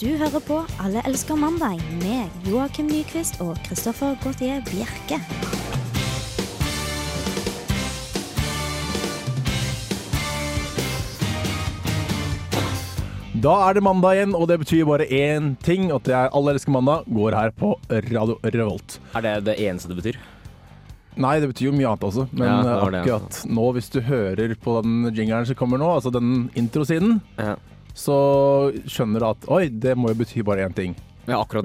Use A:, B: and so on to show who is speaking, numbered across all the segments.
A: Du hører på Alle elsker mandag med Joakim Nyquist og Christoffer Gautier Bjerke.
B: Da er det mandag igjen, og det betyr bare én ting. At det er Alle elsker mandag går her på Radio Revolt.
C: Er det det eneste det betyr?
B: Nei, det betyr jo mye annet også, men eh,
C: Ja, det altså. var det, ja.
B: akkurat nå, hvis du hører på den jingeren som kommer nå, altså den introsiden,
C: Ja,
B: så skjønner du at oi, det må jo bety bare én ting.
C: akkurat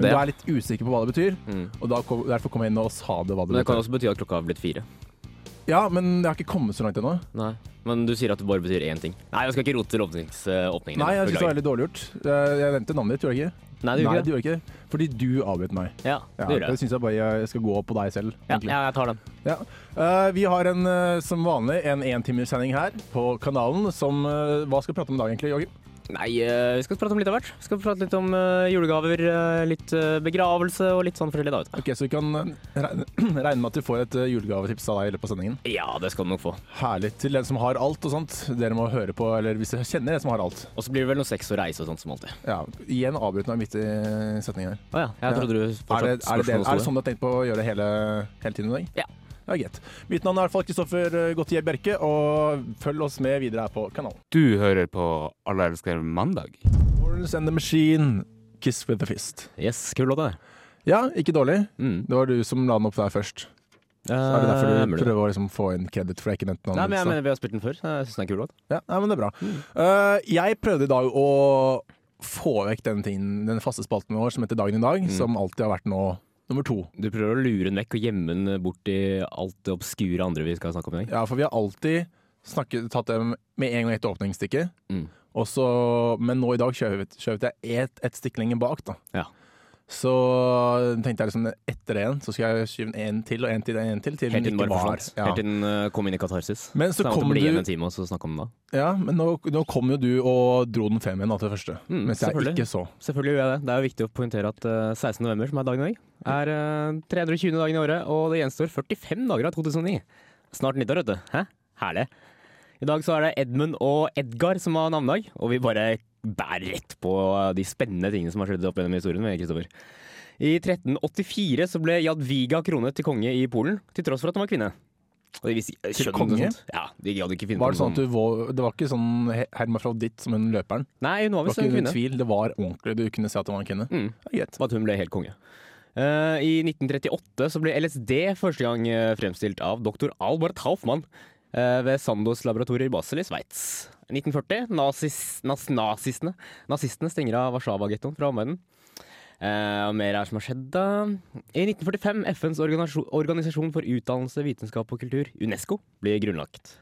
B: Men
C: det.
B: du er litt usikker på hva det betyr,
C: Mm.
B: og da kom, derfor kom jeg inn og sa det hva
C: Men
B: det
C: det kan
B: betyr.
C: også bety at klokka har blitt fire.
B: Ja, men jeg har ikke kommet så langt ennå.
C: Nei. Men du sier at det bare betyr én ting. Nei, jeg skal ikke rote til åpnings, eh, åpningen.
B: Nei, jeg syns det var
C: Beklager.
B: veldig dårlig gjort. Jeg, jeg nevnte navnet ditt, gjorde jeg ikke?
C: Nei, du
B: du
C: gjorde ikke det.
B: gjorde ikke det. Fordi du avbrøt meg.
C: Ja,
B: Ja,
C: det gjorde
B: det
C: jeg.
B: syns jeg bare jeg skal gå på deg selv.
C: Ja,
B: egentlig.
C: ja, jeg tar den.
B: Ja. Eh, vi har en, eh, som vanlig en entimerssending her på kanalen. Som, eh, hva skal vi prate om i dag, egentlig, Joakim?
C: Nei, eh, vi skal prate om litt av hvert. Vi skal prate litt om eh, julegaver, eh, litt eh, begravelse og litt sånn forskjellig. da, vet du.
B: Ok, Så vi kan eh, regne, regne med at vi får et eh, julegavetips av deg i løpet av sendingen.
C: Ja, det skal du nok få.
B: Herlig. Til den som har alt og sånt. Dere må høre på, eller hvis dere kjenner en som har alt.
C: Og så blir det vel noe sex og reise og sånt som alltid.
B: Ja, Igjen avbryter meg midt i setningen eh, her.
C: Å ja, jeg
B: Ja.
C: trodde du
B: Er
C: fortsatt
B: det, er, det, det,
C: spørsmålet
B: er det
C: sto
B: sånn du har tenkt på å gjøre det hele, hele tiden i dag?
C: Ja.
B: Ja, greit. Mitt navn er i hvert fall Kristoffer eh, Gautier Bjerke, og følg oss med videre her på kanalen.
D: Du hører på Alle elsker mandag.
B: Morals and the Machine, Kiss with the Fist.
C: Yes, kul låt, det.
B: Ja, ikke dårlig.
C: Mm.
B: Det var du som la den opp der først. Så er det
C: Eh,
B: derfor du
C: mulig.
B: prøver å liksom få inn kreditt for det ikke nevnte
C: Nei,
B: navnet
C: men jeg
B: ditt?
C: mener Mm. vi har spilt den før. så Jeg syns den er kul låt.
B: da? Ja, nei, men det er bra. Eh, jeg prøvde i dag å få vekk den, tingen, den faste spalten vår som heter Dagen i
C: Mm.
B: dag, som alltid har vært nå nummer to.
C: Du prøver å lure den vekk og gjemme den bort i alt det obskure andre vi skal snakke om i dag.
B: Ja, for vi har alltid snakket, tatt dem med en gang etter åpningsstikket.
C: Mm.
B: Og så- men nå i dag skjøvet skjøvet jeg ett et stikk lenger bak, da.
C: Ja.
B: Så tenkte jeg liksom etter det igjen, så skal jeg skyve en til og en til og en til. Til
C: Helt
B: den
C: til den
B: ikke
C: bare
B: var.
C: forsvant.
B: Ja.
C: Helt til den eh, kom inn i katarsis.
B: Men så
C: måtte
B: kom
C: det bli
B: du-
C: igjen en time, og så snakke om den da.
B: Ja, men nå, nå kom jo du og dro den fem igjen da til første,
C: Mm,
B: mens jeg
C: selvfølgelig.
B: ikke så.
C: Selvfølgelig gjør jeg det. Det er jo viktig å poengtere at eh, 16. november, som er dagen i dag, er eh, 320 dagen i året, og det gjenstår 45 dager av 2009. Snart nyttår, vet du. Hæ? Herlig. I dag så er det Edmund og Edgar som har navnedag, og vi bare bærer rett på eh, de spennende tingene som har skjedd opp gjennom historien med Kristoffer. I 1384 så ble Jadwiga kronet til konge i Polen, til tross for at hun var kvinne. Og de visste, skjønte
B: konge?
C: noe sånt. Ja, de hadde ikke funnet
B: Var det sånn at
C: noe
B: du var, Det var ikke sånn he- hermafroditt som hun løperen?
C: sånn- Nei, hun var
B: Det var
C: visst
B: ikke
C: en
B: noen
C: kvinne.
B: tvil, det var ordentlig. Du kunne se at det var en kvinne.
C: Mm.
B: Ja, greit.
C: at hun ble helt konge. Eh, I 1938 så ble LSD første gang eh, fremstilt av doktor Albert Haufmann eh, ved Sandos laboratorier i Basel i Sveits. 1940 nazis, nas, nazistene, nazistene stenger av Warszawa-gettoen fra omverdenen. Eh, og mer er som har skjedd, da. I 1945 FNs organisasjon, organisasjon for utdannelse, vitenskap og kultur, UNESCO, blir grunnlagt.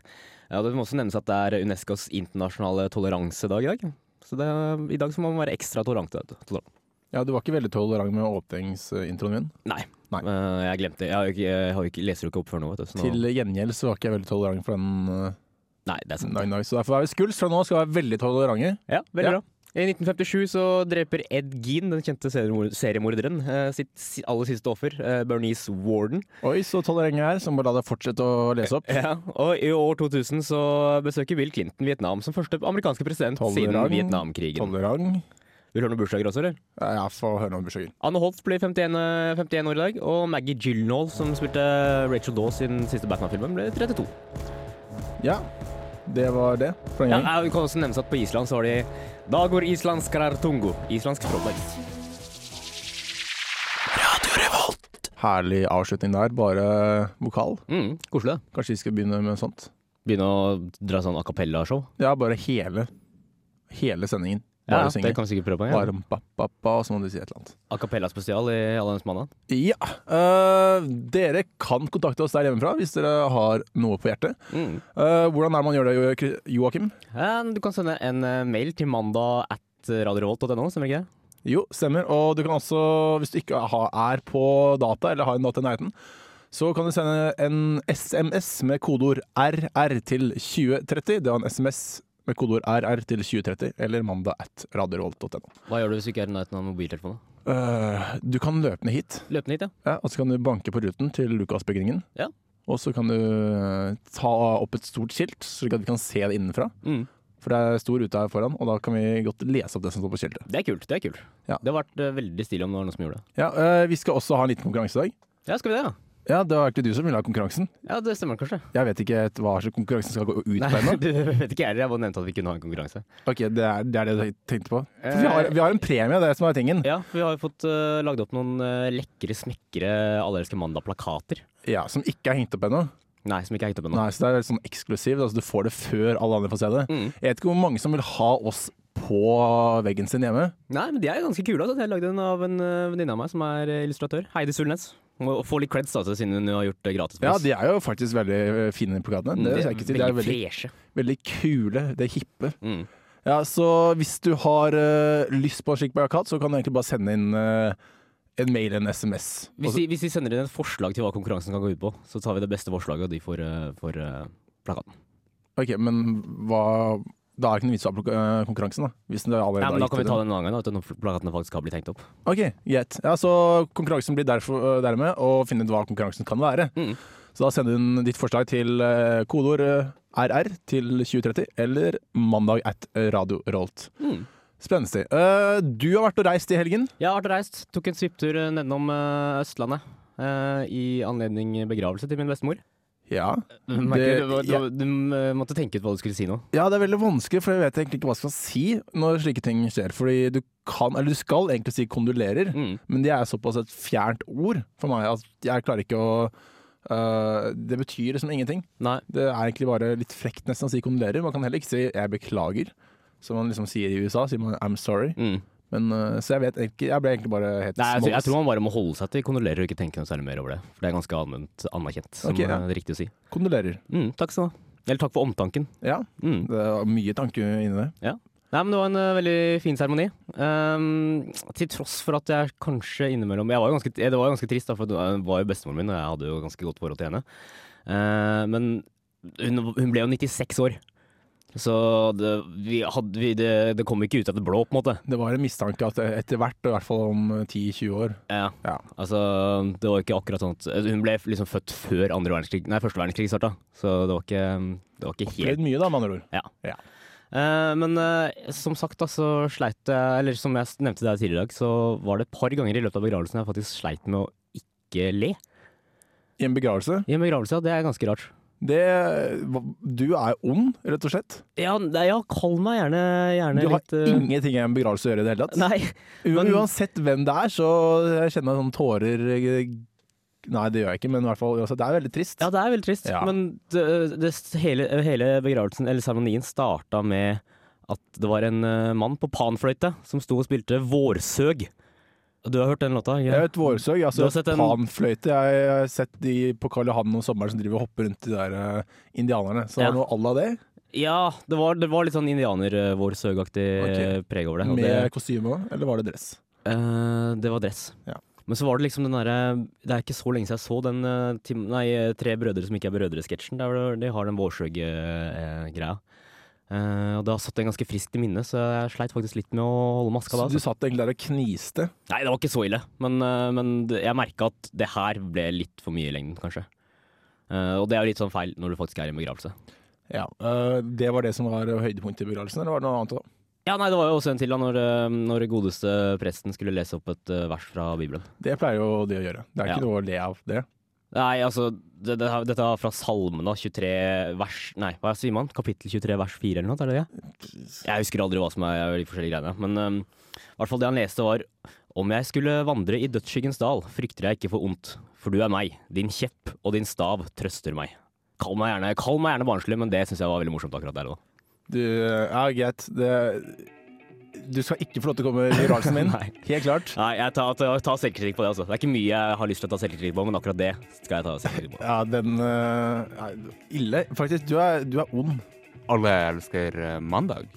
C: Ja, det må også nevnes at det er E UNESCOs internasjonale toleransedag i dag. Så det, i dag så må man være ekstra tolerant. tolerant.
B: Ja, du var ikke veldig tolerant med åpningsintroen min.
C: Nei.
B: Nei.
C: Eh, jeg glemte Jeg, har jo ikke, jeg har jo ikke, leser jo ikke opp før nå, vet du. Så nå
B: Til gjengjeld så var ikke jeg veldig tolerant for den eh,
C: Nei, det er sant.
B: dagen i dag. Så derfor er vi skuls fra nå, skal vi være veldig tolerante.
C: Ja, veldig
B: Ja.
C: bra. I 1957 så dreper Ed Gean, den kjente seriemor- seriemorderen, eh, sitt si- aller siste offer, eh, Bernice Warden.
B: Oi, så tolerante jeg er, så må la deg fortsette å lese opp.
C: Ja, og i år 2000 så besøker Bill Clinton Vietnam som første amerikanske president siden
B: Tolerant.
C: Vietnamkrigen.
B: Tolerant.
C: Vil du høre noen bursdager også, eller?
B: Ja, jeg får høre noen bursdager.
C: Anne Holt blir 51, eh, 51 år i dag, og Maggie Gyllenhaal, som spilte Rachel Dawes i den siste Batman-filmen, ble 32.
B: Ja, det var det for den
C: Ja,
B: gangen.
C: det kan også nevnes at på Island så har de Dagur islandskrar tungo. Islandsk språkdag.
B: Herlig avslutning der, bare vokal.
C: Mm, koselig, det.
B: Kanskje vi skal begynne med sånt.
C: Begynne å dra sånn a cappella-show.
B: Ja, bare hele Hele sendingen. Bare
C: Ja,
B: synge.
C: det kan vi sikkert prøve på.
B: Bare
C: Ja.
B: om ba, ba, ba, og så må du si et eller annet.
C: A cappella-spesial i Allens mandag.
B: Ja. øh, dere kan kontakte oss der hjemmefra hvis dere har noe på hjertet.
C: Mm.
B: Øh, hvordan er det man gjør det, Jo- Kri- Joakim?
C: Ja, Du kan sende en eh, mail til mandag at eh, radiorevolt.no, stemmer ikke det?
B: Jo, stemmer. Og du kan også, hvis du ikke har- er på data, eller har en data i nærheten, så kan du sende en SMS med kodeord RR til 2030. Det var en SMS med kodeord RR til 2030, eller mandag at radiorevolt.no.
C: Há gjør du hvis du ikke er i nærheten av mobiltelefonen?
B: Øh, du kan løpe ned hit.
C: Løpende hit, ja.
B: Ja, og så kan du banke på ruten til Lukas-bygningen.
C: Ja. Mm.
B: Og så kan du eh, ta opp et stort skilt, slik at vi kan se det innenfra. For det er stor rute her foran, og da kan vi godt lese opp det som står på skiltet.
C: Det er kult. Det er kult.
B: Ja.
C: Det har vært eh, veldig stille om det var noen som gjorde det.
B: Ja, eh, Vi skal også ha en liten konkurranse i dag.
C: Ja, skal vi det, da?
B: Ja, Det var egentlig du som ville ha konkurransen.
C: Ja, det stemmer kanskje.
B: Jeg vet ikke et- hva slags konkurransen skal gå ut på
C: Nei,
B: ennå.
C: du vet ikke heller. Jeg bare nevnte at vi kunne ha en konkurranse.
B: Ok, det er, det er det du tenkte på? For vi, har, vi har en premie, det er det som er tingen.
C: Eh. Ja, for vi har jo fått eh, lagd opp noen eh, lekre, smekre Alle elsker mandag-plakater.
B: Ja, Som ikke er hengt opp ennå.
C: Nei, som ikke er hengt opp ennå.
B: Nei, så det er litt sånn eksklusivt. Altså, du får det før alle andre får se det.
C: Mm.
B: Jeg vet ikke hvor mange som vil ha oss på veggen sin hjemme.
C: Nei, men de er ganske kule. Altså. Jeg lagde en av en eh, venninne av meg som er eh, illustratør. Heidi Sulnes. Må få litt creds, altså, siden hun har gjort det gratis for
B: Ja,
C: oss. Mm.
B: de er jo faktisk veldig eh, fine, de plakatene. Det, skal jeg ikke si. de er veldig,
C: freshe.
B: veldig kule, det er hippe.
C: Mm.
B: Ja, så hvis du har eh, lyst på en slik plakat, så kan du egentlig bare sende inn eh, en mail eller en SMS. Og
C: Hvis,
B: så-
C: de, hvis de sender inn et forslag til hva konkurransen kan gå ut på, så tar vi det beste forslaget, og de får, eh, får eh, plakaten.
B: Ok, men hva Da er det ikke noe vits i å ha plaka- eh, konkurransen, da. Hvis det allerede
C: Ja, men
B: er
C: da
B: gitt
C: kan vi
B: ut.
C: ta den en annen gang, da, vet du, når plakatene faktisk har blitt hengt opp.
B: Ok, greit. Ja, så konkurransen blir derfor, øh, dermed å finne ut hva konkurransen kan være.
C: Mm.
B: Så da sender hun ditt forslag til øh, kodeord øh, RR til 2030 eller mandag at Radio Rolt.
C: Mm.
B: Spennende. Eh, du har vært og reist i helgen.
C: Jeg har vært og reist. Tok en svipptur eh, nedenom eh, Østlandet. eh, I anledning begravelse til min bestemor.
B: Ja.
C: Du, merker, du, du,
B: ja.
C: du, eh, måtte tenke ut hva du skulle si nå.
B: ja, det er veldig vanskelig, for jeg vet egentlig ikke hva jeg skal si når slike ting skjer. Fordi du kan, eller du skal egentlig si kondolerer,
C: Mm.
B: men det er såpass et fjernt ord for meg at jeg klarer ikke å øh, Det betyr liksom ingenting.
C: Nei.
B: Det er egentlig bare litt frekt nesten å si kondolerer. Man kan heller ikke si 'jeg beklager', som man liksom sier i USA. sier man 'I'm sorry'.
C: Mm.
B: Men, eh, så jeg vet egentlig Jeg ble egentlig bare helt
C: Nei, altså, jeg, tror- jeg
B: smås.
C: tror man bare må holde seg til kondolerer og ikke tenke noe særlig mer over det. For det er ganske allment anerkjent, som
B: Ok, ja.
C: eh, det er riktig å si.
B: Kondolerer.
C: Mm, takk skal du ha. Eller takk for omtanken.
B: Ja,
C: Mm.
B: det var mye tanke inni det.
C: Nei, men Det var en eh, veldig fin seremoni. Ehm, til tross for at jeg kanskje innimellom jeg var jo ganske, Det var jo ganske trist, da, for det var- var jo bestemoren min, og jeg hadde jo ganske godt forhold til henne. Eh, men hun, hun ble jo 96 år. Så det, vi hadde, vi, det, det kom ikke ut av det blå, på en måte.
B: Det var en mistanke at etter hvert, i hvert fall om 10-20 år
C: Ja.
B: Ja.
C: Altså, det var ikke akkurat sånn at Hun ble liksom født før andre verdenskrig, nei, første verdenskrig starta, så det var ikke, det var ikke
B: Opplevd
C: helt
B: mye, da, med andre ord.
C: Eh, Men eh, som sagt, da, så sleit jeg Eller som jeg nevnte deg tidligere i dag, så var det et par ganger i løpet av begravelsen jeg faktisk sleit med å ikke le.
B: I en begravelse.
C: I en begravelse, ja. Det er ganske rart.
B: Det Du er ond, rett og slett.
C: Ja, nei, ja kall meg gjerne, gjerne
B: Du har
C: litt eh,
B: ingenting i en begravelse å gjøre i det hele tatt.
C: Nei.
B: U-
C: men-
B: Uansett hvem det er, så jeg kjenner jeg sånn tårer Nei, det gjør jeg ikke, men i hvert fall uansett, Det er veldig trist.
C: Ja, det er veldig trist,
B: Ja.
C: men det, det, hele, hele begravelsen, eller seremonien, starta med at det var en eh, mann på panfløyte som sto og spilte Vårsøg. Du har hørt den låta? ikke?
B: Jeg vet vårsøg.
C: Du
B: Altså,
C: har sett en-
B: Panfløyte. Jeg har sett de på Karl Johan om sommeren som driver og hopper rundt de der eh, indianerne. Så det
C: Ja.
B: er noe à la det,
C: Ja, det var, det var litt sånn indianer-vårsøgaktig
B: Ok.
C: eh, preg over det. og det
B: med kostyme òg. Eller var det dress?
C: Eh, det var dress.
B: Ja.
C: Men så var det liksom den derre Det er ikke så lenge siden jeg så den eh, tim nei, eh, Tre brødre som ikke er brødre-sketsjen. der hvor De har den eh, Vårsøg-greia. Eh, og det har satt en ganske friskt i minne, så jeg sleit faktisk litt med å holde maska
B: Så
C: da.
B: du
C: Altså.
B: satt egentlig der og kniste.
C: Nei, det var ikke så ille, men, eh, men det- jeg merka at det her ble litt for mye i lengden, kanskje. Eh, og det er jo litt sånn feil når du faktisk er i en begravelse.
B: Ja, eh, Det var det som var høydepunktet i begravelsen, eller var det noe annet òg?
C: Ja, nei, det var jo også en til da, når, eh, når godeste presten skulle lese opp et eh, vers fra Bibelen.
B: Det pleier jo de å gjøre. Det er
C: Ja.
B: ikke noe å le av, det.
C: Nei, altså det, det, Dette er fra salmen da 23 vers Nei, hva sier man? Kapittel 23 vers 4 eller noe, er det det? Jeg husker aldri hva som er de forskjellige greiene Men øhm, i hvert fall det han leste var Om jeg skulle vandre i dødsskyggens dal Frykter jeg ikke for ondt For du er meg, din kjepp og din stav trøster meg Kall meg gjerne, kall meg gjerne barnslig Men det synes jeg var veldig morsomt akkurat der og da
B: Du, ja, greit. Det Du skal ikke få lov til å komme i begravelsen min.
C: Nei.
B: Helt klart.
C: Nei, jeg tar, tar, tar selvkritikk på det altså Det er ikke mye jeg har lyst til å ta selvkritikk på Men akkurat det skal jeg ta selvkritikk på
B: Ja, den eh, er Ille. Faktisk, du er, du er ond.
D: Alle elsker eh, mandag.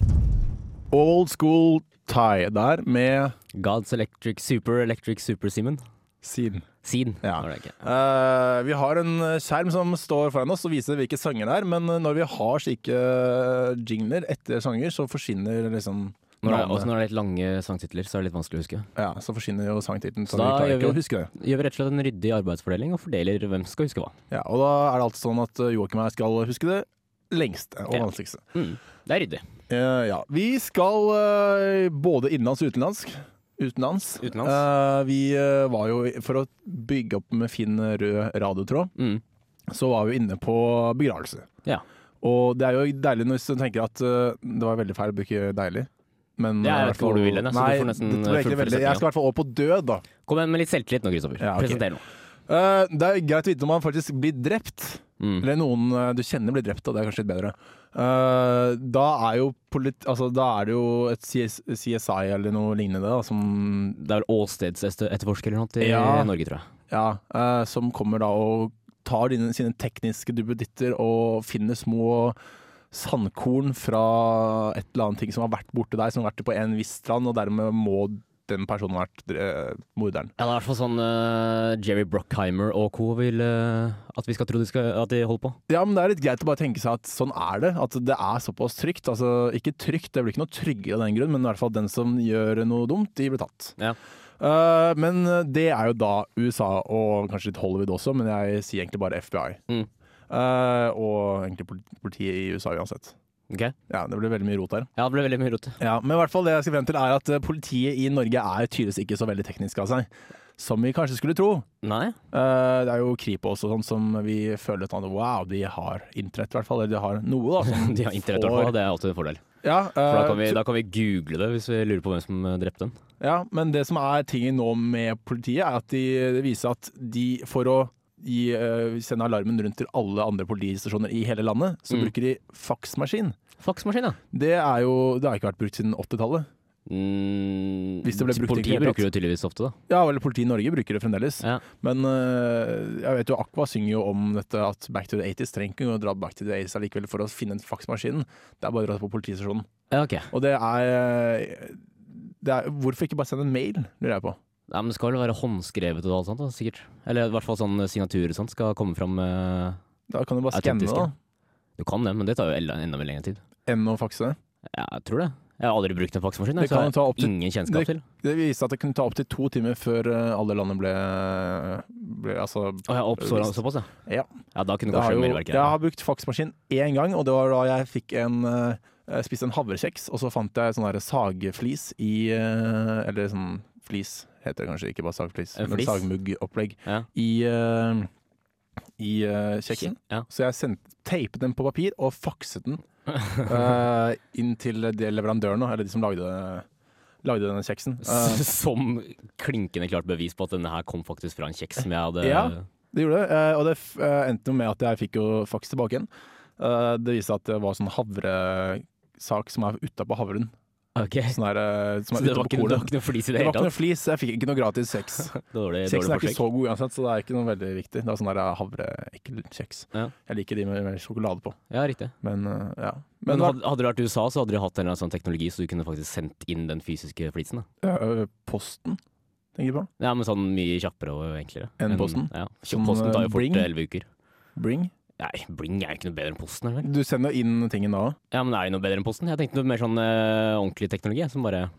B: Old school Thai der med
C: God's Electric Super Electric Super Simon
B: Sin.
C: Sin
B: Ja.
C: var det ikke?
B: Eh, vi har en skjerm som står foran oss og viser hvilke sanger det er, men eh, når vi har slike eh, jingler etter sanger, så forsvinner liksom
C: Når det,
B: navnet.
C: også når det er litt lange sangtitler, så er det litt vanskelig å huske.
B: Ja, så forsvinner jo sangtittelen, så
C: Så
B: vi
C: da
B: klarer
C: gjør
B: ikke
C: vi-
B: å huske det.
C: Gjør vi rett og slett en ryddig arbeidsfordeling og fordeler hvem skal huske hva.
B: Ja, og eh, da er det alltid sånn at Joakim her skal huske det lengste og
C: Ja.
B: vanskeligste.
C: Mm. Det er ryddig.
B: Eh, ja. Vi skal eh, både innenlands og utenlandsk. Utenlands.
C: Utenlands.
B: Eh, vi eh, var jo, for å bygge opp med fin rød radiotråd,
C: Mm.
B: så var vi inne på begravelse.
C: Ja.
B: Og det er jo deilig når du tenker at eh, det var veldig feil å bruke 'deilig'. Men eh,
C: Ja, jeg
B: i hvert
C: vet
B: fall-
C: ikke hvor du vil hen, jeg, så
B: Nei,
C: du får nesten
B: det tror jeg, egentlig
C: fullføre
B: veldig, jeg skal i hvert fall over på død, da.
C: Kom igjen med litt selvtillit nå, Kristoffer.
B: Ja, ok.
C: Presenter noe.
B: Eh, det er greit å vite om man faktisk blir drept,
C: Mm.
B: eller noen eh, du kjenner blir drept, og det er kanskje litt bedre. Eh, da, er jo polit, altså, da er det jo et CS, CSI eller noe lignende da, som,
C: Det er vel åstedsetterforsker eller noe i
B: Ja.
C: Norge, tror jeg.
B: ja, eh, som kommer da og tar dine, sine tekniske duppeditter og finner små sandkorn fra et eller annet ting som har vært borte der, som har vært på en viss strand, og dermed må den personen ha vært eh, morderen.
C: Ja, det er i hvert fall sånn eh, Jerry Bruckheimer og co. vil eh, at vi skal tro de skal, at de holder på.
B: Ja, men det er litt greit å bare tenke seg at sånn er det. At det er såpass trygt. Altså, ikke trygt, det blir ikke noe tryggere av den grunn, men i hvert fall den som gjør noe dumt, de blir tatt.
C: Ja.
B: Eh, men det er jo da USA, og kanskje litt Hollywood også, men jeg sier egentlig bare FBI.
C: Mm.
B: Eh, og egentlig polit- politiet i USA uansett.
C: Ok?
B: Ja, det blir veldig mye rot her.
C: Ja, det ble veldig mye rot.
B: Ja, men i hvert fall det jeg skal frem til er at eh, politiet i Norge er tydeligvis ikke så veldig teknisk av seg. Som vi kanskje skulle tro.
C: Nei?
B: Eh, det er jo Kripos og sånn som vi føler at wow, de har internett i hvert fall. Eller de har noe, da. som
C: De har internett, i
B: får-
C: hvert fall. Det er alltid en fordel.
B: Ja,
C: For da
B: eh,
C: kan, vi, da kan vi google det hvis vi lurer på hvem som eh, drepte den.
B: ja, men det som er tingen nå med politiet, er at de det viser at de for å gi, eh, sende alarmen rundt til alle andre politistasjoner i hele landet, så
C: Mm.
B: bruker de faksmaskin.
C: Faksmaskin, ja.
B: Det er jo Det har ikke vært brukt siden 80-tallet.
C: Mm,
B: Hvis det ble brukt i
C: Politiet
B: kriminalitet.
C: bruker det tydeligvis ofte, da.
B: Ja, eller politiet i Norge bruker det fremdeles.
C: Ja.
B: Men eh, jeg vet jo Aqua synger jo om dette at Back to the 80s trenger ikke å dra back to the 80s allikevel for å finne en faksmaskin. Det er bare å dra på politistasjonen.
C: Ja, ok.
B: Og det er, eh, det er Hvorfor ikke bare sende en mail, lurer jeg på.
C: Nei, men det skal vel være håndskrevet og alt sånt, da, sikkert. Eller i hvert fall sånn signatur og sånt skal komme fram. eh,
B: Da kan du bare skanne,
C: Autentiske.
B: da.
C: Du kan det, men det tar jo enda, enda mer lengre tid.
B: Enn å fakse.
C: Ja, jeg tror det. Jeg har aldri brukt en faksmaskin,
B: Det
C: jeg, så
B: kan jo
C: jeg
B: ta opp
C: har
B: til-
C: ingen kjennskap
B: det-
C: til.
B: Det viste at det kunne ta opptil to timer før eh, alle landene ble, ble Altså,
C: Å ja, opp så,
B: Visst.
C: såpass, ja.
B: Ja.
C: da kunne
B: det har
C: kanskje
B: jo,
C: merverket.
B: jeg har brukt faksmaskin én gang, og det var da jeg fikk en eh, jeg spiste en havrekjeks, og så fant jeg sånn der sagflis i eh, Eller sånn flis, heter det kanskje, ikke bare sagflis,
C: En
B: men
C: flis?
B: sagmuggopplegg
C: Ja.
B: i, eh, i eh, kjeksen.
C: Ja.
B: Så jeg sendte, teipet den på papir og fakset den eh, inn til de leverandørene, eller de som lagde, lagde denne kjeksen. Eh,
C: S- Som klinkende klart bevis på at denne her kom faktisk fra en kjeks som jeg hadde
B: Ja. Det gjorde det, eh, og det f- eh, endte jo med at jeg fikk jo faks tilbake igjen. Eh, Det viste seg at det var sånn havresak som er utapå havren.
C: Ok.
B: Sånn her, eh, som
C: Så
B: er
C: det var
B: utapå
C: ikke, det var
B: kolet.
C: ikke noe flis i
B: Det var
C: det hele
B: ikke noe
C: tatt?
B: flis, jeg fikk ikke noe gratis kjeks.
C: Dårlig,
B: Kjeksen
C: dårlig
B: er ikke
C: forsøk.
B: så god uansett, så det er ikke noe veldig viktig. Det er sånn der eh, havreekkel kjeks.
C: Ja.
B: Jeg liker de med, med sjokolade på,
C: Ja, riktig.
B: men eh, ja. Men,
C: Men hadde, hadde det vært i USA, så hadde de hatt en eller annen sånn teknologi så du kunne faktisk sendt inn den fysiske flisen. da.
B: hva- eh, posten, tenker du på?
C: Ja, men sånn mye kjappere og enklere.
B: Enn
C: Men-
B: posten?
C: Ja.
B: Som,
C: posten tar
B: eh,
C: jo fort
B: Bring?
C: elleve uker.
B: Bring?
C: Nei, Bling er jo ikke noe bedre enn Posten. er det vel?
B: Du sender jo inn tingen da òg.
C: Ja, men er det noe bedre enn Posten? Jeg tenkte noe mer sånn eh, ordentlig teknologi, som bare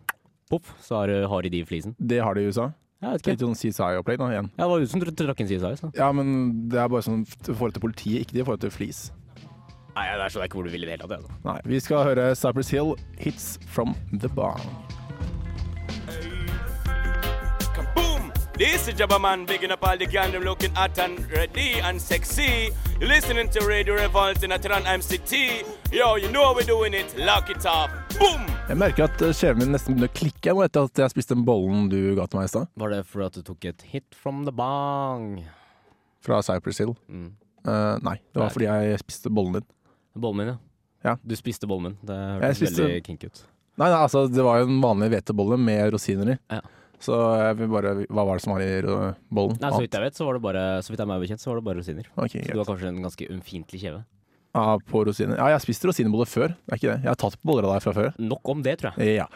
C: poff, så har, har de de i flisen.
B: Det har de i USA.
C: Jeg vet ikke.
B: Litt sånn CSI-opplegg da, igjen.
C: Ja, det var du som tr- trakk inn CSI. Så.
B: Ja, men det er bare sånn i forhold til politiet, ikke i forhold til flis.
C: Nei, det er så det er ikke hvor du vil i det hele tatt. Altså.
B: Nei, vi skal høre Cypress Hill, 'Hits From The Barn'.
E: Kaboom! This is Jabba Man, bigging up all the gang, them looking hot and ready and sexy. You're listening to Radio Revolt in Atran MCT. Yo, you know how we're doing it. Lock it up. Boom!
B: Jeg merker at eh, skjeven min nesten begynner å klikke nå etter at jeg spiste den bollen du ga til meg i stad,
C: Var det fordi at du tok et hit from the bang?
B: fra Cypress Hill.
C: Mm.
B: Eh, nei, det var
C: Nei.
B: fordi jeg spiste bollen din.
C: Bollen min, ja.
B: Ja.
C: Du spiste bollen min. Det
B: Jeg
C: hørtes
B: spiste-
C: veldig kinky ut.
B: Nei, nei, altså det var jo en vanlig hvetebolle med rosiner i.
C: Ja.
B: Så jeg vil bare Hva var det som var i eh, bollen?
C: Nei, så vidt jeg vet, så var det bare Så vidt jeg er meg bekjent, så var det bare rosiner.
B: Ah, ok,
C: Så
B: greit.
C: du har kanskje en ganske unnfiendtlig kjeve.
B: Ja, på rosiner. Ja, jeg har spist rosinboller før. Det er ikke det. Jeg har tatt boller av deg fra før.
C: Nok om det, tror jeg.
B: Ja.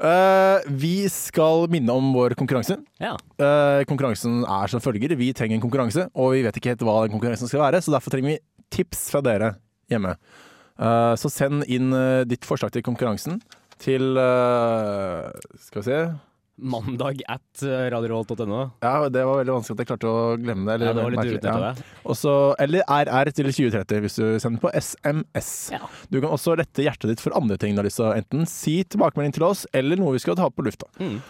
B: Eh, vi skal minne om vår konkurranse.
C: Ja.
B: Eh, konkurransen er som følger. Vi trenger en konkurranse, og vi vet ikke helt hva den konkurransen skal være, så derfor trenger vi tips fra dere hjemme. Eh, så send inn eh, ditt forslag til konkurransen til eh, Skal vi se
C: Mandag at eh, radiorevolt.no.
B: Ja, Det var veldig vanskelig at jeg klarte å glemme det.
C: Ja, det var litt
B: merkelig,
C: durete av deg.
B: Og så- Eller RR til 2030 hvis du sender på SMS.
C: Ja.
B: Du kan også rette hjertet ditt for andre ting du har lyst til å enten si tilbakemelding til oss, eller noe vi skal ta på lufta.
C: Mm.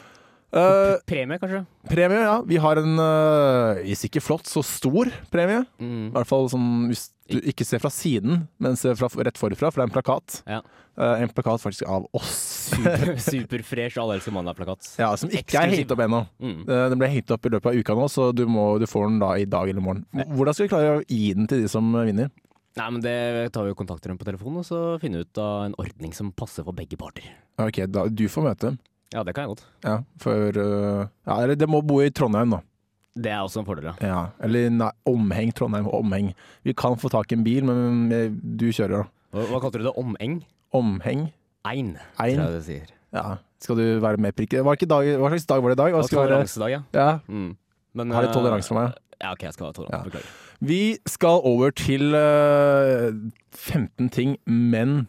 B: Eh,
C: Premie, kanskje?
B: premie, ja. Vi har en eh, hvis ikke flott, så stor premie. I hvert fall sånn hvis du ikke ser fra siden, men ser fra, rett forfra, for det er en plakat.
C: Ja.
B: Eh, en plakat faktisk av oss.
C: Super, superfresh Alle elsker mandag-plakat.
B: Ja, Som ikke er
C: Eksklusiv.
B: hengt opp ennå.
C: Mm.
B: Eh, Den ble hengt opp i løpet av uka nå, så du, må, du får den da i dag eller i morgen. Hvordan skal vi klare å gi den til de som vinner?
C: Nei, men det tar vi jo kontakter dem på telefonen, og så finner vi ut av en ordning som passer for begge parter.
B: Ok, da, Du får møte dem.
C: Ja, det kan jeg godt.
B: Ja, for eh, ja, Eller det må bo i Trondheim, da.
C: Det er også en fordel, ja.
B: Ja, eller nei, omheng Trondheim. Omheng. Vi kan få tak i en bil, men eh, du kjører, da.
C: Hva, hva kalte du det? Omeng?
B: Omheng.
C: Ein,
B: Ein.
C: tror jeg det sier.
B: Ja. Skal du være med prikk? Var ikke dag, hva slags dag var det i dag? Hva
C: Og
B: skal være,
C: toleransedag, ja.
B: ja,
C: Mm. Men,
B: har
C: eh,
B: litt toleranse for meg.
C: Ja, ok, jeg skal ha toleranse.
B: Ja.
C: Beklager.
B: Vi skal over til eh, 15 ting menn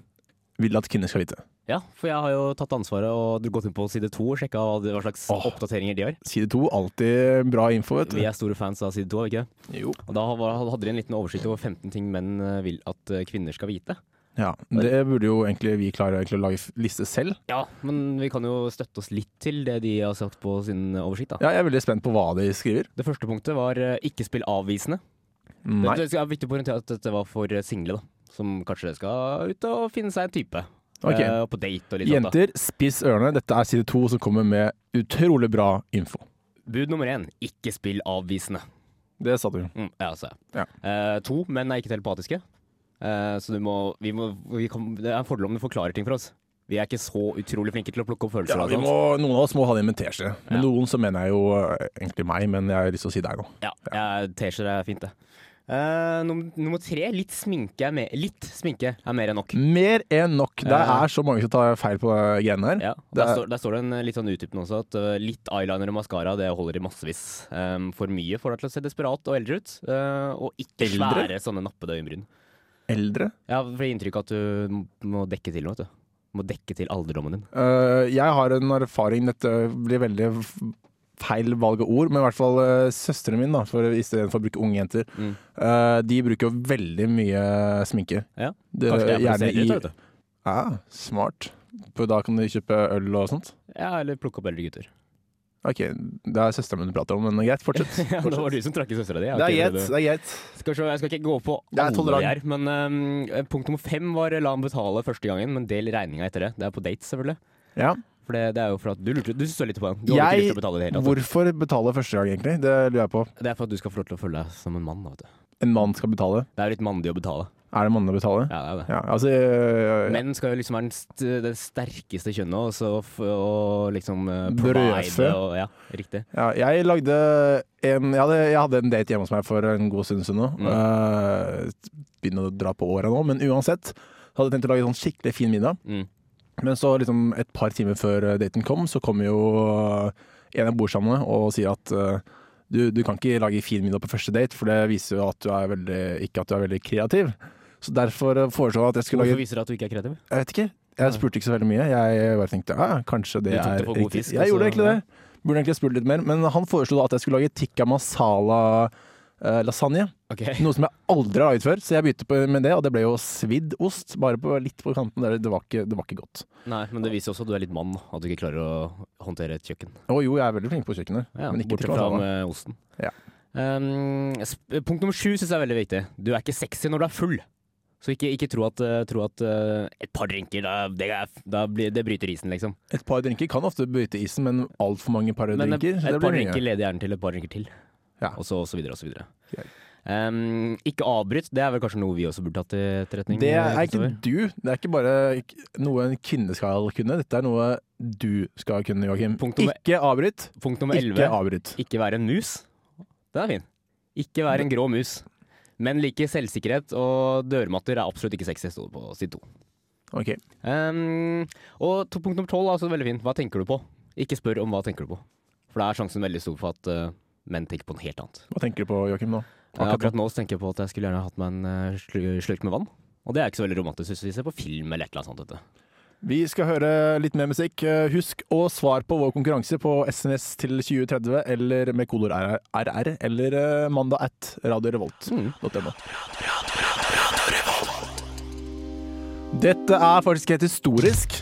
B: vil at kvinner skal vite.
C: Ja, for jeg har jo tatt ansvaret og gått inn på side to og sjekka hva, hva slags
B: Åh.
C: oppdateringer de har.
B: Side to, alltid bra info, vet du.
C: Vi er store fans av side to, er vi ikke det?
B: Jo.
C: Og da var- hadde de en liten oversikt over 15 ting menn eh, vil at eh, kvinner skal vite.
B: Ja, det burde jo egentlig vi klare egentlig å lage f- liste selv.
C: Ja, men vi kan jo støtte oss litt til det de har sagt på sin oversikt. da.
B: Ja, jeg er veldig spent på hva de skriver.
C: Det første punktet var eh, ikke spill avvisende.
B: Nei.
C: Det er viktig å poengtere at dette var for eh, single, da. Som kanskje skal ut og finne seg en type.
B: Ok.
C: Eh, og på date og litt sånt. da.
B: Jenter, spiss ørene. Dette er side to som kommer med utrolig bra info.
C: Bud nummer én ikke spill avvisende.
B: Det sa du.
C: Mm, ja, altså.
B: Ja.
C: Eh, to menn er ikke telepatiske. Eh, så du må, vi må vi kan, Det er en fordel om du forklarer ting for oss. Vi er ikke så utrolig flinke til å plukke opp følelser.
B: Ja,
C: og
B: vi
C: sånt.
B: må, Noen av oss må ha det i en teskje. Men
C: Ja.
B: noen så mener jeg jo eh, egentlig meg, men jeg har lyst til å si deg nå.
C: Ja, ja T-skjorter er fint, det. Eh, num nummer tre, litt sminke, er mer, litt sminke er mer enn nok.
B: Mer enn nok. Det
C: Ja.
B: er så mange som tar feil på de greiene her.
C: Ja, og
B: Det
C: der,
B: er-
C: står, der står det en eh, litt sånn utdypende også, at eh, litt eyeliner og maskara det holder i massevis. Eh, for mye får deg til å se desperat og eldre ut, eh, og ikke
B: Eldre?
C: svære sånne nappede øyenbryn.
B: Eldre.
C: Ja, for det inntrykk at du m- må dekke til noe, vet du. Må dekke til alderdommen din.
B: Eh, jeg har en erfaring Dette blir veldig f- feil valg av ord, men i hvert fall uh, søstrene mine, da, for istedenfor å bruke unge jenter,
C: Mm.
B: eh, de bruker jo veldig mye sminke.
C: Ja.
B: Det-
C: Kanskje det er for å
B: gjerne
C: se eldre ut,
B: i-
C: da, vet du.
B: Ja, smart. For da kan de kjøpe øl og sånt.
C: Ja, eller plukke opp eldre gutter.
B: Ok, det er søsteren min du prater om, men greit, fortsett.
C: ja, det var du som trakk i søstera di. ja,
B: Det er
C: ok,
B: greit.
C: det-
B: det er greit.
C: Skal vi se, jeg skal ikke gå på
B: Jeg er
C: alle de
B: tolerant.
C: her, men øhm, punkt nummer fem var la ham betale første gangen, men del regninga etter det. Det er på dates, selvfølgelig.
B: Ja.
C: For det, det er jo for at Du lurte, du så litt på den. Du hadde
B: Jeg-
C: ikke lyst til å betale det hele. tatt.
B: Hvorfor betale første gang, egentlig? Det lurer jeg på.
C: Det er for at du skal få lov til å føle deg som en mann. da, Vet du.
B: En mann skal betale.
C: Det er jo litt mandig å betale.
B: Er det mannene betaler?
C: Ja, det er det.
B: Ja, altså eh,
C: Menn skal jo liksom være den, st det sterkeste kjønnet, og så f og liksom øh,
B: Brødfø.
C: provide og Ja, riktig.
B: Ja, jeg lagde en jeg hadde, jeg hadde en date hjemme hos meg for en god stund siden nå. Eh, begynner å dra på åra nå, men uansett. Hadde jeg tenkt å lage en sånn skikkelig fin middag.
C: Mm.
B: Men så liksom et par timer før daten kom, så kom jo eh, en jeg bor sammen med og sier at eh, du, du kan ikke lage fin middag på første date, for det viser jo at du er veldig, ikke at du er veldig kreativ. Så derfor foreslår jeg at jeg skulle
C: Hvorfor
B: lage
C: viser det at du ikke er kreativ?
B: Jeg vet ikke, jeg spurte ikke så veldig mye. Jeg bare tenkte ja, kanskje det
C: Du tok
B: er
C: det for god
B: riktig.
C: fisk,
B: Jeg gjorde
C: altså,
B: egentlig det. Burde egentlig spurt litt mer. Men han foreslo da at jeg skulle lage tikka masala eh, lasagne.
C: Ok,
B: Noe som jeg aldri har laget før, så jeg begynte på med det, og det ble jo svidd ost. Bare på, litt på kanten der. Det var ikke, det var ikke godt.
C: Nei, men det viser også at du er litt mann, at du ikke klarer å håndtere et kjøkken.
B: Å jo, jeg er veldig flink på kjøkkenet,
C: Ja,
B: men ikke til
C: bortsett fra
B: masala.
C: med osten.
B: Ja.
C: Um, sp- punkt nummer sju syns jeg er veldig viktig. Du er ikke sexy når du er full. Så ikke, ikke tro at, eh, tro at eh, et par drinker, da, det, er, da blir, det bryter isen, liksom.
B: Et par drinker kan ofte bryte isen, men altfor mange par
C: Men et,
B: drinker
C: et
B: det
C: par
B: blir mye.
C: drinker leder gjerne til et par drinker til.
B: Ja.
C: Og så og så videre og så videre.
B: Greit.
C: Um, ikke avbryt, det er vel kanskje noe vi også burde tatt til etterretning? eh,
B: Det er ikke
C: Kristoffer?
B: du. Det er ikke bare noe en kvinne skal kunne. Dette er noe du skal kunne, Joakim.
C: Punkt nummer-
B: Ikke avbryt.
C: Punkt nummer
B: Ikke
C: elleve.
B: avbryt.
C: Ikke være en mus. Den er fin. Ikke være en grå mus. Men like selvsikkerhet og dørmatter er absolutt ikke sexy, sto det på side to.
B: Ok.
C: Ehm, og to, punkt nummer tolv er altså veldig fint. Hva tenker du på? Ikke spør om hva tenker du på. For da er sjansen veldig stor for at eh, menn tenker på noe helt annet.
B: Hva tenker du på, Joakim, nå?
C: Eh, akkurat nå så tenker jeg på at jeg skulle gjerne hatt meg en eh, slu- slurk med vann. Og det er ikke så veldig romantisk hvis vi ser på film eller et eller annet sånt. Vet du.
B: Vi skal høre litt mer musikk. Eh, Husk å svare på vår konkurranse på SNS til 2030 eller med kodord RR eller eh, mandag at
C: Mm.
B: radiorevolt.no. Dette er faktisk helt historisk.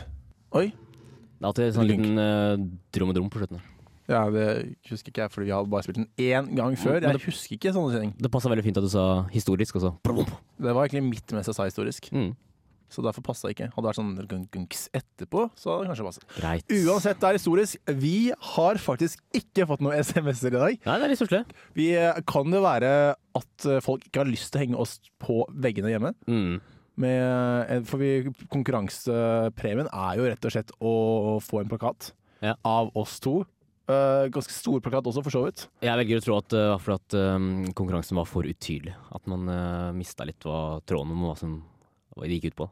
B: Oi.
C: Det er alltid sånn
B: Link.
C: liten eh, drum-drum på slutten. her.
B: Ja, det husker ikke jeg, fordi vi hadde bare spilt den én gang før.
C: Men det-
B: Jeg husker ikke sånne ting.
C: Det passa veldig fint at du sa historisk, og så brum.
B: Det var egentlig midt mens jeg sa historisk,
C: Mm.
B: så derfor passa ikke. Hadde det vært sånn gung- gunks etterpå, så hadde det kanskje passet.
C: Greit.
B: Uansett, det er historisk. Vi har faktisk ikke fått noen SMS-er i dag.
C: Nei, det er litt stusslig.
B: Vi eh, kan det være at eh, folk ikke har lyst til å henge oss på veggene hjemme.
C: Mm.
B: Med, eh, for vi, konkurransepremien er jo rett og slett å få en plakat
C: Ja.
B: av oss to. Eh, ganske stor plakat også, for så vidt.
C: Jeg velger å tro at det var fordi at eh, konkurransen var for utydelig. At man uh, mista litt hva tråden om hva som hva det gikk ut på.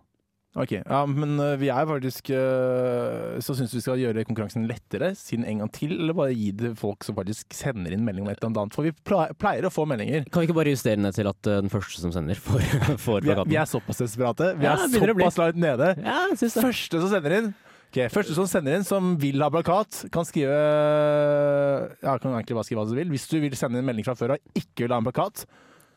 B: Ok, ja, Men eh, vi er faktisk eh, Så syns vi skal gjøre konkurransen lettere, siden en gang til, eller bare gi det folk som faktisk sender inn melding om et eller annet. For vi ple- pleier å få meldinger.
C: Kan vi ikke bare justere ned til at eh, den første som sender, får, får
B: Vi er,
C: plakaten?
B: vi er såpass desperate. Vi
C: Ja,
B: er
C: det begynner å bli.
B: såpass langt nede.
C: Ja, jeg syns det.
B: Første som sender inn Ok, Første som sender inn som vil ha plakat, kan skrive Ja, kan egentlig bare skrive hva du vil. Hvis du vil sende en melding fra før og ikke vil ha en plakat,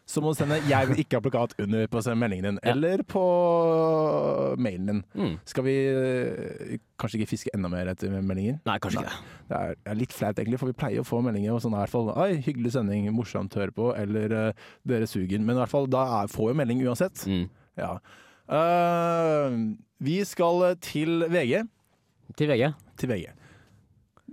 B: så må du sende 'jeg vil ikke ha plakat' under på meldingen din,
C: Ja.
B: eller på mailen din.
C: Mm.
B: Skal vi eh, kanskje ikke fiske enda mer etter meldinger?
C: Nei, kanskje
B: Nei.
C: ikke det.
B: Det er, det er litt flaut, egentlig, for vi pleier å få meldinger og sånn i hvert fall 'Oi, hyggelig sending, morsomt, hør på', eller eh, 'dere suger'. Men i hvert fall, da er, får vi melding uansett.
C: Mm.
B: Ja. Eh, vi skal til VG.
C: Til VG.
B: Til VG.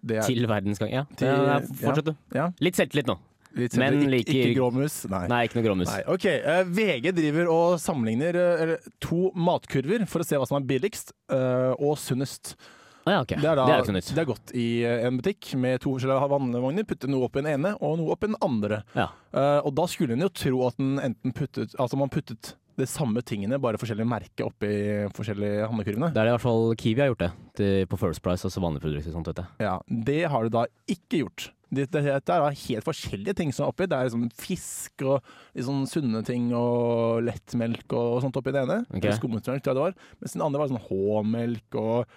B: Det er,
C: Til verdensgang. Ja,
B: Til-
C: ja, fortsett, du.
B: ja,
C: Litt selvtillit nå.
B: litt
C: Men
B: senere. Ik-
C: liker-
B: Ikke gråmus. Nei.
C: Nei, ikke noe gråmus.
B: Nei, ok, eh, VG driver og sammenligner eh, eller, to matkurver for å se hva som er billigst eh, og sunnest.
C: Å ja, ok.
B: Det er, da,
C: jo ikke noe nytt.
B: det er godt i eh, en butikk med to forskjellige vannvogner. Putte noe opp i den ene og noe opp i den andre.
C: Ja.
B: Eh, og da skulle en jo tro at den enten puttet, altså man puttet de samme tingene, bare forskjellige merker oppi forskjellige handlekurvene.
C: Det er det i hvert fall Kiwi har gjort det, til, på First Price, altså vanlige produkter. og Sånt, vet jeg.
B: Ja, Det har du da ikke gjort. Det, det, det er da helt forskjellige ting som er oppi. Det er liksom fisk og litt sånn sunne ting og lettmelk og, og sånt oppi det ene.
C: Ok.
B: Okay. Skummetmelk, tror jeg det var. Mens den andre var sånn H-melk og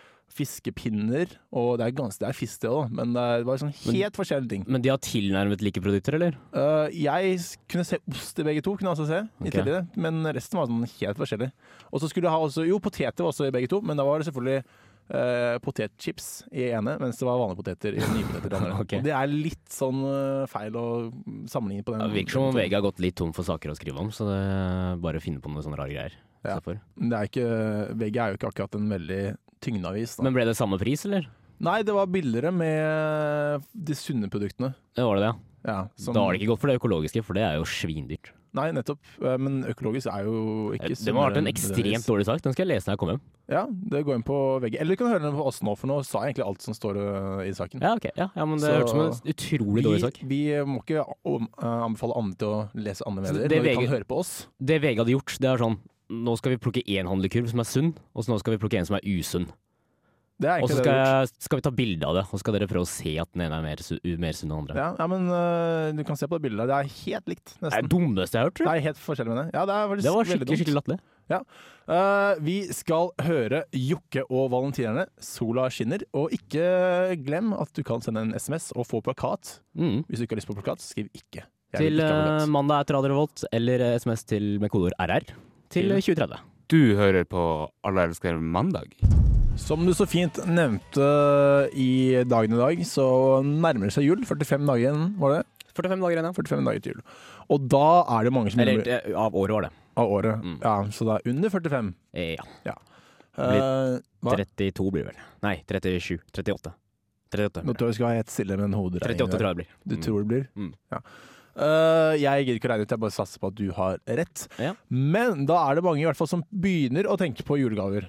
B: fiskepinner. Og det er ganske, det er fisk det òg, men det er- det var sånn
C: Men-
B: helt forskjellige ting.
C: Men de har tilnærmet like produkter, eller?
B: Eh, jeg s- kunne se ost i begge to, kunne jeg også se, i
C: Ok.
B: tillegg, men resten var sånn helt forskjellig. Og så skulle jeg ha også, jo, poteter var også i begge to, men da var det selvfølgelig eh, potetchips i ene, mens det var vanlige poteter i nye poteter i det andre.
C: Ok.
B: Og det er litt sånn eh, feil å sammenligne på den.
C: Det virker som om VG har gått litt tom for saker å skrive om, så det er bare å finne på noen sånne rare greier.
B: Ja.
C: Så for.
B: Men Det er ikke, VG er jo ikke akkurat en veldig tyngdeavis. Da.
C: Men ble det samme pris, eller?
B: Nei, det var billigere med eh, de sunne produktene.
C: Det var det, det, ja.
B: Ja, som-
C: Da har det ikke gått for det økologiske, for det er jo svindyrt.
B: Nei, nettopp. Eh, Men økologisk er jo ikke
C: Det må ha vært en
B: sunnere enn nødvendigvis.
C: ekstremt dårlig sak. Den skal jeg lese når jeg kommer hjem.
B: Ja, det går inn på VG. Eller du kan høre den på oss nå, for nå sa jeg egentlig alt som står øh, i saken.
C: Ja, ok. Ja, ja, men det
B: Så-
C: hørtes som en utrolig dårlig sak.
B: Vi, vi må ikke om- øh, anbefale andre til å lese andre
C: Så
B: medier,
C: det
B: men vi kan
C: VG
B: høre på oss.
C: Det VG hadde gjort, det er sånn Nå skal vi plukke én handlekurv som er sunn, og så nå skal vi plukke en som er usunn.
B: Det er
C: Og så
B: egentlig det
C: skal,
B: vi har gjort.
C: jeg- skal vi ta bilde av det, og så skal dere prøve å se at den ene er mer, su mer sunn enn den andre.
B: Ja, ja, men øh, du kan se på det bildet. der. Det er helt likt,
C: Det er
B: nesten.
C: det dummeste jeg har hørt, tror jeg.
B: Det er helt forskjellig med det. Ja, det er faktisk
C: Det var
B: veldig
C: skikkelig,
B: dumt.
C: skikkelig latterlig.
B: Eh, vi skal høre Jokke og Valentinerne, 'Sola skinner'. Og ikke glem at du kan sende en SMS og få plakat.
C: Mm.
B: Hvis du ikke har lyst på plakat, skriv ikke. Jeg vil
C: Til
B: ikke ha
C: eh,
B: plakat.
C: mandag etter Radio Revolt, eller eh, SMS til med kodeord RR til
D: Til-
C: 2030.
D: Du hører på Alle elsker mandag.
B: Som du så fint nevnte i dagen i dag, så nærmer det seg jul. 45 dager igjen, var det?
C: 45 dager igjen,
B: 45 dager til jul. Og da er det mange som
C: Eller
B: jubler
C: eh, av året, var det.
B: av året.
C: Mm.
B: Ja, så det er under 45.
C: Eh, Ja.
B: Eh, Hva?
C: 32 blir det vel. Nei, 37. 38. 38,
B: nå
C: blir det.
B: tror jeg vi skal ha helt stille med en hoderegning.
C: 38 tror jeg det blir.
B: Du tror det blir?
C: Mm.
B: Ja. Eh, jeg gidder ikke å regne ut, jeg bare satser på at du har rett.
C: Ja.
B: Men da er det mange i hvert fall som begynner å tenke på julegaver.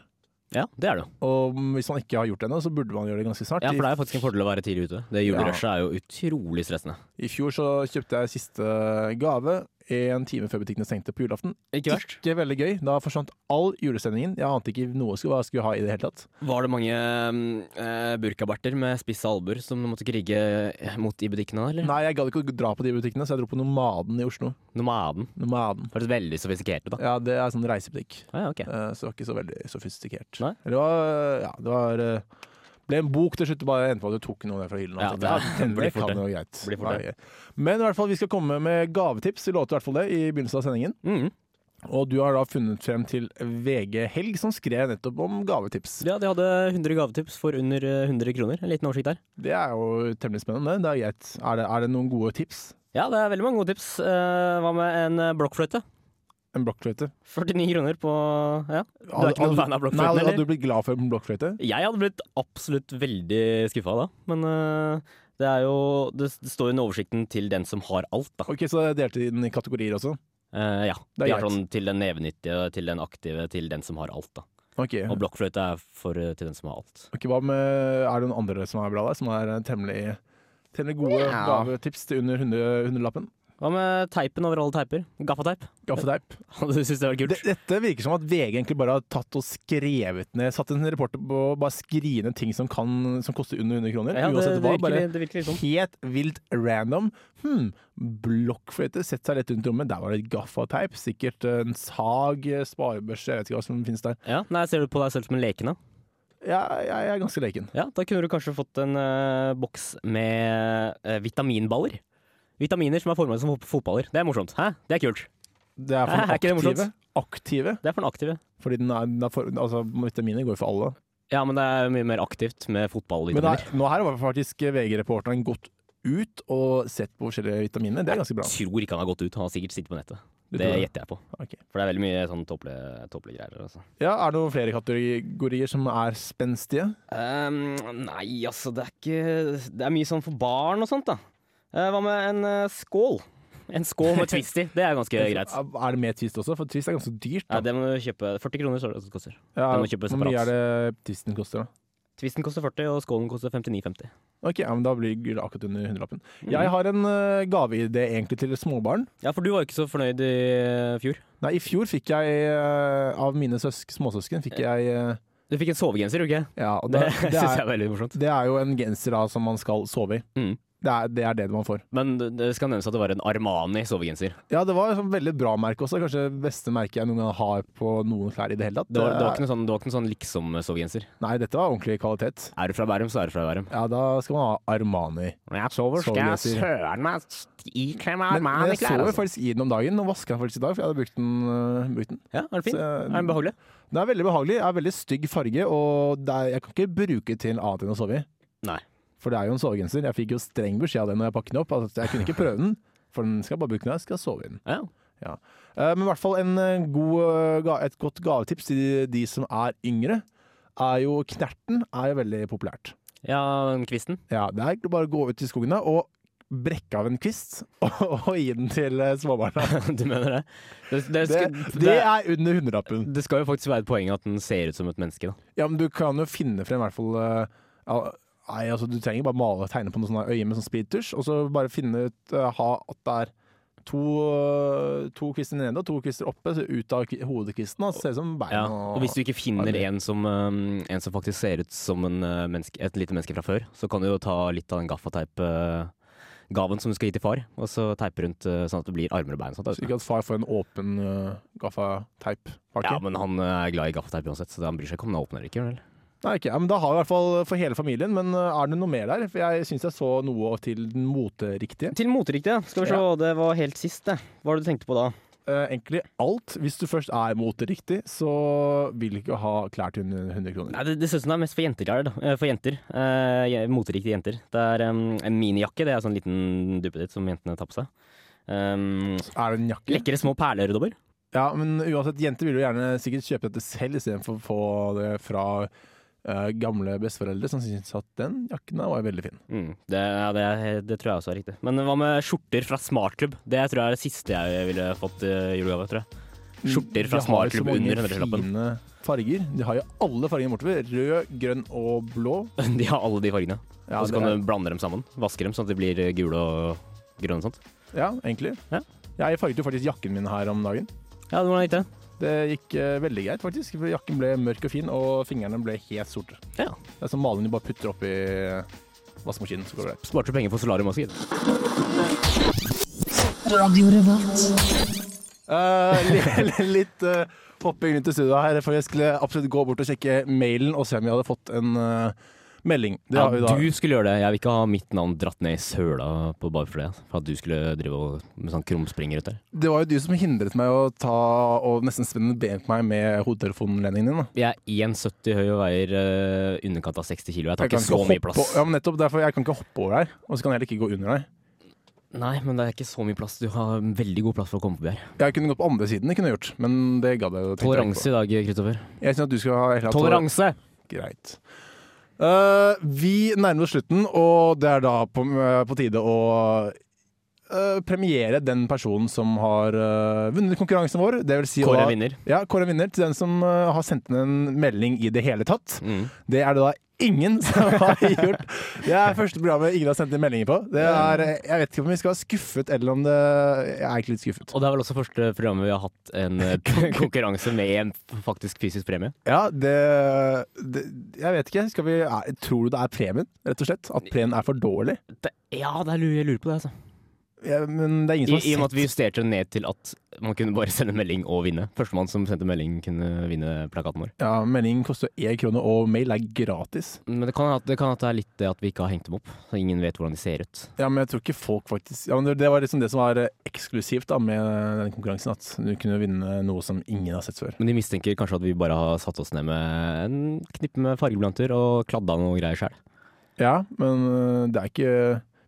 C: Ja, det er det.
B: Og hvis man ikke har gjort det ennå, så burde man gjøre det ganske snart.
C: Ja, for det er faktisk en fordel å være tidlig ute. Det julerushet er jo utrolig stressende.
B: I fjor så kjøpte jeg siste gave. en time før butikkene stengte på julaften.
C: Ikke verst.
B: Ikke veldig gøy. Da forsvant all julesendingen. Jeg ante ikke noe jeg skulle, hva jeg skulle ha i det hele tatt.
C: Var det mange eh, burkaberter med spisse albuer som du måtte krige mot i butikkene? da, eller?
B: Nei, jeg gadd ikke å dra på de butikkene, så jeg dro på Nomaden i Oslo.
C: Nomaden.
B: Nomaden.
C: Hørtes veldig sofistikert ut, da.
B: Ja, det er sånn reisebutikk.
C: Ah, ja, ok.
B: Eh, Så det var ikke så veldig sofistikert.
C: Nei.
B: Det var, ja, det var eh, ble en bok til slutt, bare endte på at du tok noe ned fra hyllen. og
C: Ja,
B: tenkte,
C: det
B: ja,
C: er-
B: den
C: blir fort
B: kan
C: det.
B: jo greit.
C: Blir fort
B: Nei, Men i hvert fall, vi skal komme med gavetips, vi lovte i hvert fall det i begynnelsen av sendingen.
C: Mhm.
B: Og du har da funnet frem til VG Helg, som skrev nettopp om gavetips.
C: Ja, de hadde 100 gavetips for under eh, 100 kroner. En liten oversikt der.
B: Det er jo temmelig spennende. Det er greit. Er det, er det noen gode tips?
C: Ja, det er veldig mange gode tips. Eh, hva med en eh, blokkfløyte?
B: En blokkfløyte?
C: 49 kroner på Ja, du
B: Hadde-
C: er ikke
B: hadde-
C: noen fan av
B: Nei,
C: blokkfløyten,
B: hadde, hadde
C: eller?
B: du blitt glad for en blokkfløyte?
C: Jeg hadde blitt absolutt veldig skuffa da, men eh, det er jo Det det står jo under oversikten til den som har alt, da.
B: Ok, så jeg delte inn i kategorier også.
C: Eh, ja.
B: Det er
C: De er
B: greit.
C: sånn til den nevenyttige, til den aktive, til den som har alt, da.
B: Ok,
C: Og blokkfløyte er for eh, til den som har alt.
B: Ok, hva med, Er det noen andre som er bra der, som er eh, temmelig, temmelig gode
C: Ja.
B: gavetips til under 100 hundrelappen?
C: Hva med teipen over alle teiper? Gaffateip?
B: Gaffeteip.
C: Hadde du syntes det var
B: Det-
C: kult?
B: Dette virker som at VG egentlig bare har tatt og skrevet ned Satt en reporter på å bare skrive ned ting som, kan, som koster under 100 kroner.
C: Ja, det,
B: uansett
C: det,
B: hva.
C: virker,
B: Bare
C: det virker litt sånn.
B: helt vilt random. Hm, blokkfløyte. Sett seg rett rundt i rommet. Der var det gaffateip. Sikkert en sag, sparebørse, jeg vet ikke hva som finnes der.
C: Ja, nei, Ser du på deg selv som en lekende?
B: Ja, jeg, jeg er ganske leken.
C: Ja, Da kunne du kanskje fått en eh, boks med eh, vitaminballer. Vitaminer som er formet som fot- fotballer. Det er morsomt. Hæ? Det er kult.
B: Det er for
C: Hæ,
B: den
C: er ikke det
B: aktive.
C: morsomt?
B: aktive.
C: Det er for den aktive.
B: Fordi den er, den er for, altså, vitaminer går jo for alle.
C: Ja, men det er mye mer aktivt med
B: Men
C: fotballvitaminer.
B: der, nå her har faktisk VG-reporteren gått ut og sett på forskjellige vitaminer. Det er ganske bra.
C: Jeg tror ikke han har gått ut. Han har sikkert sittet på nettet.
B: Du
C: Det
B: tror det?
C: gjetter jeg på.
B: Ok.
C: For det er veldig mye sånn tåpelige tåpelige greier. Altså.
B: Ja, er det noen flere kategorier som er spenstige?
C: Ehm, nei, altså, det er ikke Det er mye sånn for barn og sånt, da. Eh, hva med en eh, skål? En skål med twist i. Det er ganske greit.
B: Er det med twist også? For twist er ganske dyrt. Da.
C: Ja, det må du kjøpe. 40 kroner står det at det koster.
B: Ja,
C: det må kjøpes
B: hvor mye
C: separat.
B: er det twisten koster, da?
C: Twisten koster 40, og skålen koster 59,50.
B: Ok, ja, men Da blir det akkurat under hundrelappen.
C: Mhm.
B: Jeg har en eh, gaveidé egentlig til småbarn.
C: Ja, for du var jo ikke så fornøyd i eh, fjor.
B: Nei, I fjor fikk jeg eh, av mine søsk, småsøsken fikk jeg eh,
C: Du fikk en sovegenser, gjorde du ikke?
B: Ja, og
C: Det,
B: det,
C: synes
B: det,
C: syns jeg
B: er,
C: er veldig morsomt.
B: det er jo en genser da som man skal sove i.
C: Mm.
B: Det er, det er det man får.
C: Men det- det skal nevnes at det var en Armani sovegenser.
B: Ja, det var et sånt veldig bra merke også. Kanskje det beste merket jeg noen gang har på noen klær i det hele tatt.
C: Det var, det var ikke noe sånn, det var ikke noe sånn liksom-sovegenser.
B: Nei, dette var ordentlig kvalitet.
C: Er du fra Bærum, så er du fra Bærum.
B: Ja, da skal man ha Armani.
C: Når jeg sover,
B: skal jeg Sovegenser.
C: søren meg ikle meg
B: Men, men jeg så
C: altså.
B: jo faktisk i den om dagen, og vaska den faktisk i dag, for jeg hadde brukt den. øh, brukt den.
C: Ja, er den fin?
B: Så, eh,
C: Er den behagelig?
B: Den er veldig behagelig, er veldig stygg farge, og det er, jeg kan ikke bruke til annet enn å sove i.
C: Nei.
B: For det er jo en sovegenser. Jeg fikk jo streng beskjed av det når jeg pakket den opp. Altså, jeg kunne ikke prøve den, for den skal jeg bare bruke når jeg skal sove i den.
C: Ja.
B: Ja. Eh, Men i hvert fall en eh, god, eh, ga- et godt gavetips til de, de som er yngre, er jo knerten er jo veldig populært.
C: ja, den kvisten.
B: Ja, det er egentlig bare å gå ut i skogen da, og brekke av en kvist og, og gi den til eh, småbarna.
C: du mener det? Det, det,
B: Det,
C: skal, det,
B: det
C: det,
B: er under hundrelappen.
C: skal jo faktisk være et poeng at den ser ut som et menneske, da.
B: Ja, men du kan jo finne frem i hvert fall eh, al- Nei, altså du trenger bare male og tegne på noen sånne øye med sånn spiritusj, og så bare finne ut eh, ha at det er to, eh, to kvister nede og to kvister oppe, så ut av kvi- hodekvisten. Da, så ser det ut som bein
C: Ja.
B: og,
C: Og hvis du ikke finner
B: Armani.
C: en som, um, en som faktisk ser ut som en, uh, menneske, et lite menneske fra før, så kan du jo ta litt av den gaffateip-gaven som du skal gi til far, og så teipe rundt uh, sånn at det blir armer og bein. og Sånt, da.
B: Så ikke at far får en åpen eh, gaffateip-pakke.
C: Ja, men han uh, er glad i gaffateip uansett, så han bryr seg ikke om den er åpen eller ikke. Vel?
B: Nei, ok, ja, men da har vi i hvert fall for hele familien, men eh, er det noe mer der? For jeg syns jeg så noe til den moteriktige.
C: Til moteriktig, ja. Skal vi se, det var helt sist, det. Hva var det du tenkte på da?
B: Eh, egentlig alt. Hvis du først er moteriktig, så vil du ikke ha klær til 100 kroner.
C: Nei, det, det synes jeg er mest for jenter, Jared, da. Eh, For jenter. Eh, je- moteriktige jenter. Det er em, en minijakke, det er sånn liten duppeditt som jentene tar på seg. Em,
B: Er det en jakke?
C: lekre små perleøredobber.
B: Ja, men uansett, jenter vil jo gjerne sikkert kjøpe dette selv istedenfor å få det fra eh, gamle besteforeldre som syns at den jakken der var veldig fin.
C: Mm, det, ja, det, det tror jeg også er riktig. Men hva med skjorter fra smartklubb? Det tror jeg er det siste jeg ville fått i julegave, tror jeg. Skjorter
B: Mm, De har jo
C: fra
B: så
C: smartklubb
B: mange
C: under 100-lappen.
B: fine farger. De har jo alle fargene bortover. Rød, grønn og blå.
C: De har alle de fargene.
B: Ja,
C: og så
B: det
C: kan
B: er-
C: du blande dem sammen. Vaske dem sånn at de blir gule og eh, grønne og sånt.
B: ja egentlig.
C: Ja.
B: Jeg farget jo faktisk jakken min her om dagen.
C: Ja, hvordan gikk det?
B: Det gikk eh, veldig greit, faktisk. for Jakken ble mørk og fin, og fingrene ble helt sorte.
C: Ja.
B: Det er sånn maling du bare putter oppi eh, vaskemaskinen, så går det greit.
C: Sparte du penger for solariummaskin?
B: Eh, li- litt eh, hopping rundt i studio her, for jeg skulle absolutt gå bort og sjekke mailen og se om vi hadde fått en eh, melding. Det
C: Ja,
B: har vi da.
C: du skulle gjøre det. Jeg vil ikke ha mitt navn dratt ned i søla på bare for det. altså. For at du skulle drive og, med sånn krumspringer ut der.
B: Det var jo du som hindret meg å ta og nesten spenne ben på meg med hodetelefonledningen din. Da.
C: Jeg er 1,70 høy og veier uh, underkant av 60 kilo. Jeg tar
B: Jeg
C: ikke
B: kan
C: så
B: ikke
C: mye
B: hoppe-
C: plass.
B: Ja, men nettopp derfor jeg kan ikke hoppe over deg, og så kan jeg heller ikke gå under deg.
C: Nei, men det er ikke så mye plass. Du har veldig god plass for å komme forbi her.
B: Jeg kunne gått på andre siden, det kunne jeg gjort, men det gadd jeg jo tenkte jeg
C: Toleranse i dag, Kristoffer.
B: ikke på. Jeg synes at du skal ha heller ha tol-
C: Toleranse!
B: Greit. Eh, vi nærmer oss slutten, og det er da på, eh, på tide å eh, premiere den personen som har eh, vunnet konkurransen vår. Det vil si
C: Kåre
B: da-
C: vinner.
B: Ja, Kåre vinner til den som eh, har sendt inn en melding i det hele tatt.
C: Mm.
B: Det er det da ingen som har gjort. Det er første programmet ingen har sendt inn meldinger på. Det er, eh, jeg vet ikke om vi skal være skuffet, eller om det Jeg er egentlig litt skuffet.
C: Og det er vel også første programmet vi har hatt en eh, konkurranse med en faktisk fysisk premie.
B: Ja, det, det Jeg vet ikke. Skal vi, er, tror du det er premien, rett og slett? At premien er for dårlig?
C: Det, ja, det er, lu- jeg lurer på det, altså.
B: Ja, men det er
C: I,
B: ingen
C: I og
B: som
C: med
B: har
C: at vi
B: sett
C: justerte det ned til at man kunne bare sende melding og vinne. Førstemann som sendte melding, kunne vinne plakaten vår.
B: ja, Meldingen koster én krone, og mail er gratis.
C: Men det kan, ha- det kan at det er litt det at vi ikke har hengt dem opp. Så ingen vet hvordan de ser ut.
B: Ja, men jeg tror ikke folk faktisk ja, men det, det var liksom det som var eh, eksklusivt da med eh, den konkurransen, at du kunne vinne noe som ingen har sett før.
C: Men de mistenker kanskje at vi bare har satt oss ned med en knippe med fargeblanter og kladda noe greier sjøl.
B: Ja, men eh, det er ikke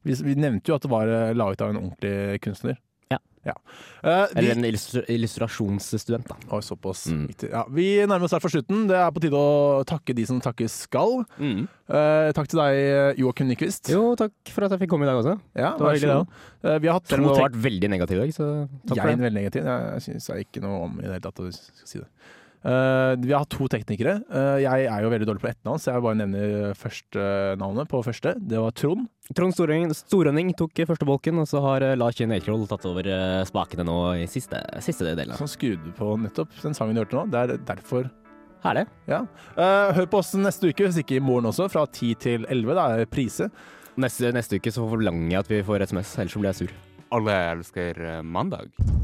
B: vi, vi nevnte jo at det var eh, laget av en ordentlig kunstner.
C: Ja.
B: Eh, vi,
C: Eller en illustr illustrasjonsstudent, da.
B: Oi, såpass.
C: Mm.
B: Riktig. Ja, vi nærmer oss her for slutten. Det er på tide å takke de som takkes skal.
C: Mm.
B: Eh, takk til deg, Joakim Nyquist.
C: Jo, takk for at jeg fikk komme i dag også.
B: Ja,
C: det var
B: vær så
C: hyggelig,
B: god. Eh, vi har hatt to
C: Selv om du har
B: tek-
C: vært veldig negativ i dag, så takk
B: jeg er
C: for det.
B: veldig negativ. Jeg syns jeg ikke noe om i det hele tatt at du skal si det. Eh, vi har hatt to teknikere. Eh, jeg er jo veldig dårlig på etternavn, så jeg bare nevner førstenavnet på første. Det var Trond.
C: Trond Storønning, Storønning tok første bolken, og så har eh, Lars Kinn Ekroll tatt over eh, spakene nå i siste, siste delen.
B: Som skrudde på nettopp den sangen du hørte nå. Det er derfor.
C: Herlig.
B: Ja. Eh, hør på oss neste uke, hvis ikke i morgen også, fra 10 til 11. Da er det Prise.
C: Neste, neste uke så forlanger jeg at vi får SMS, ellers så blir jeg sur.
D: Alle elsker eh, mandag.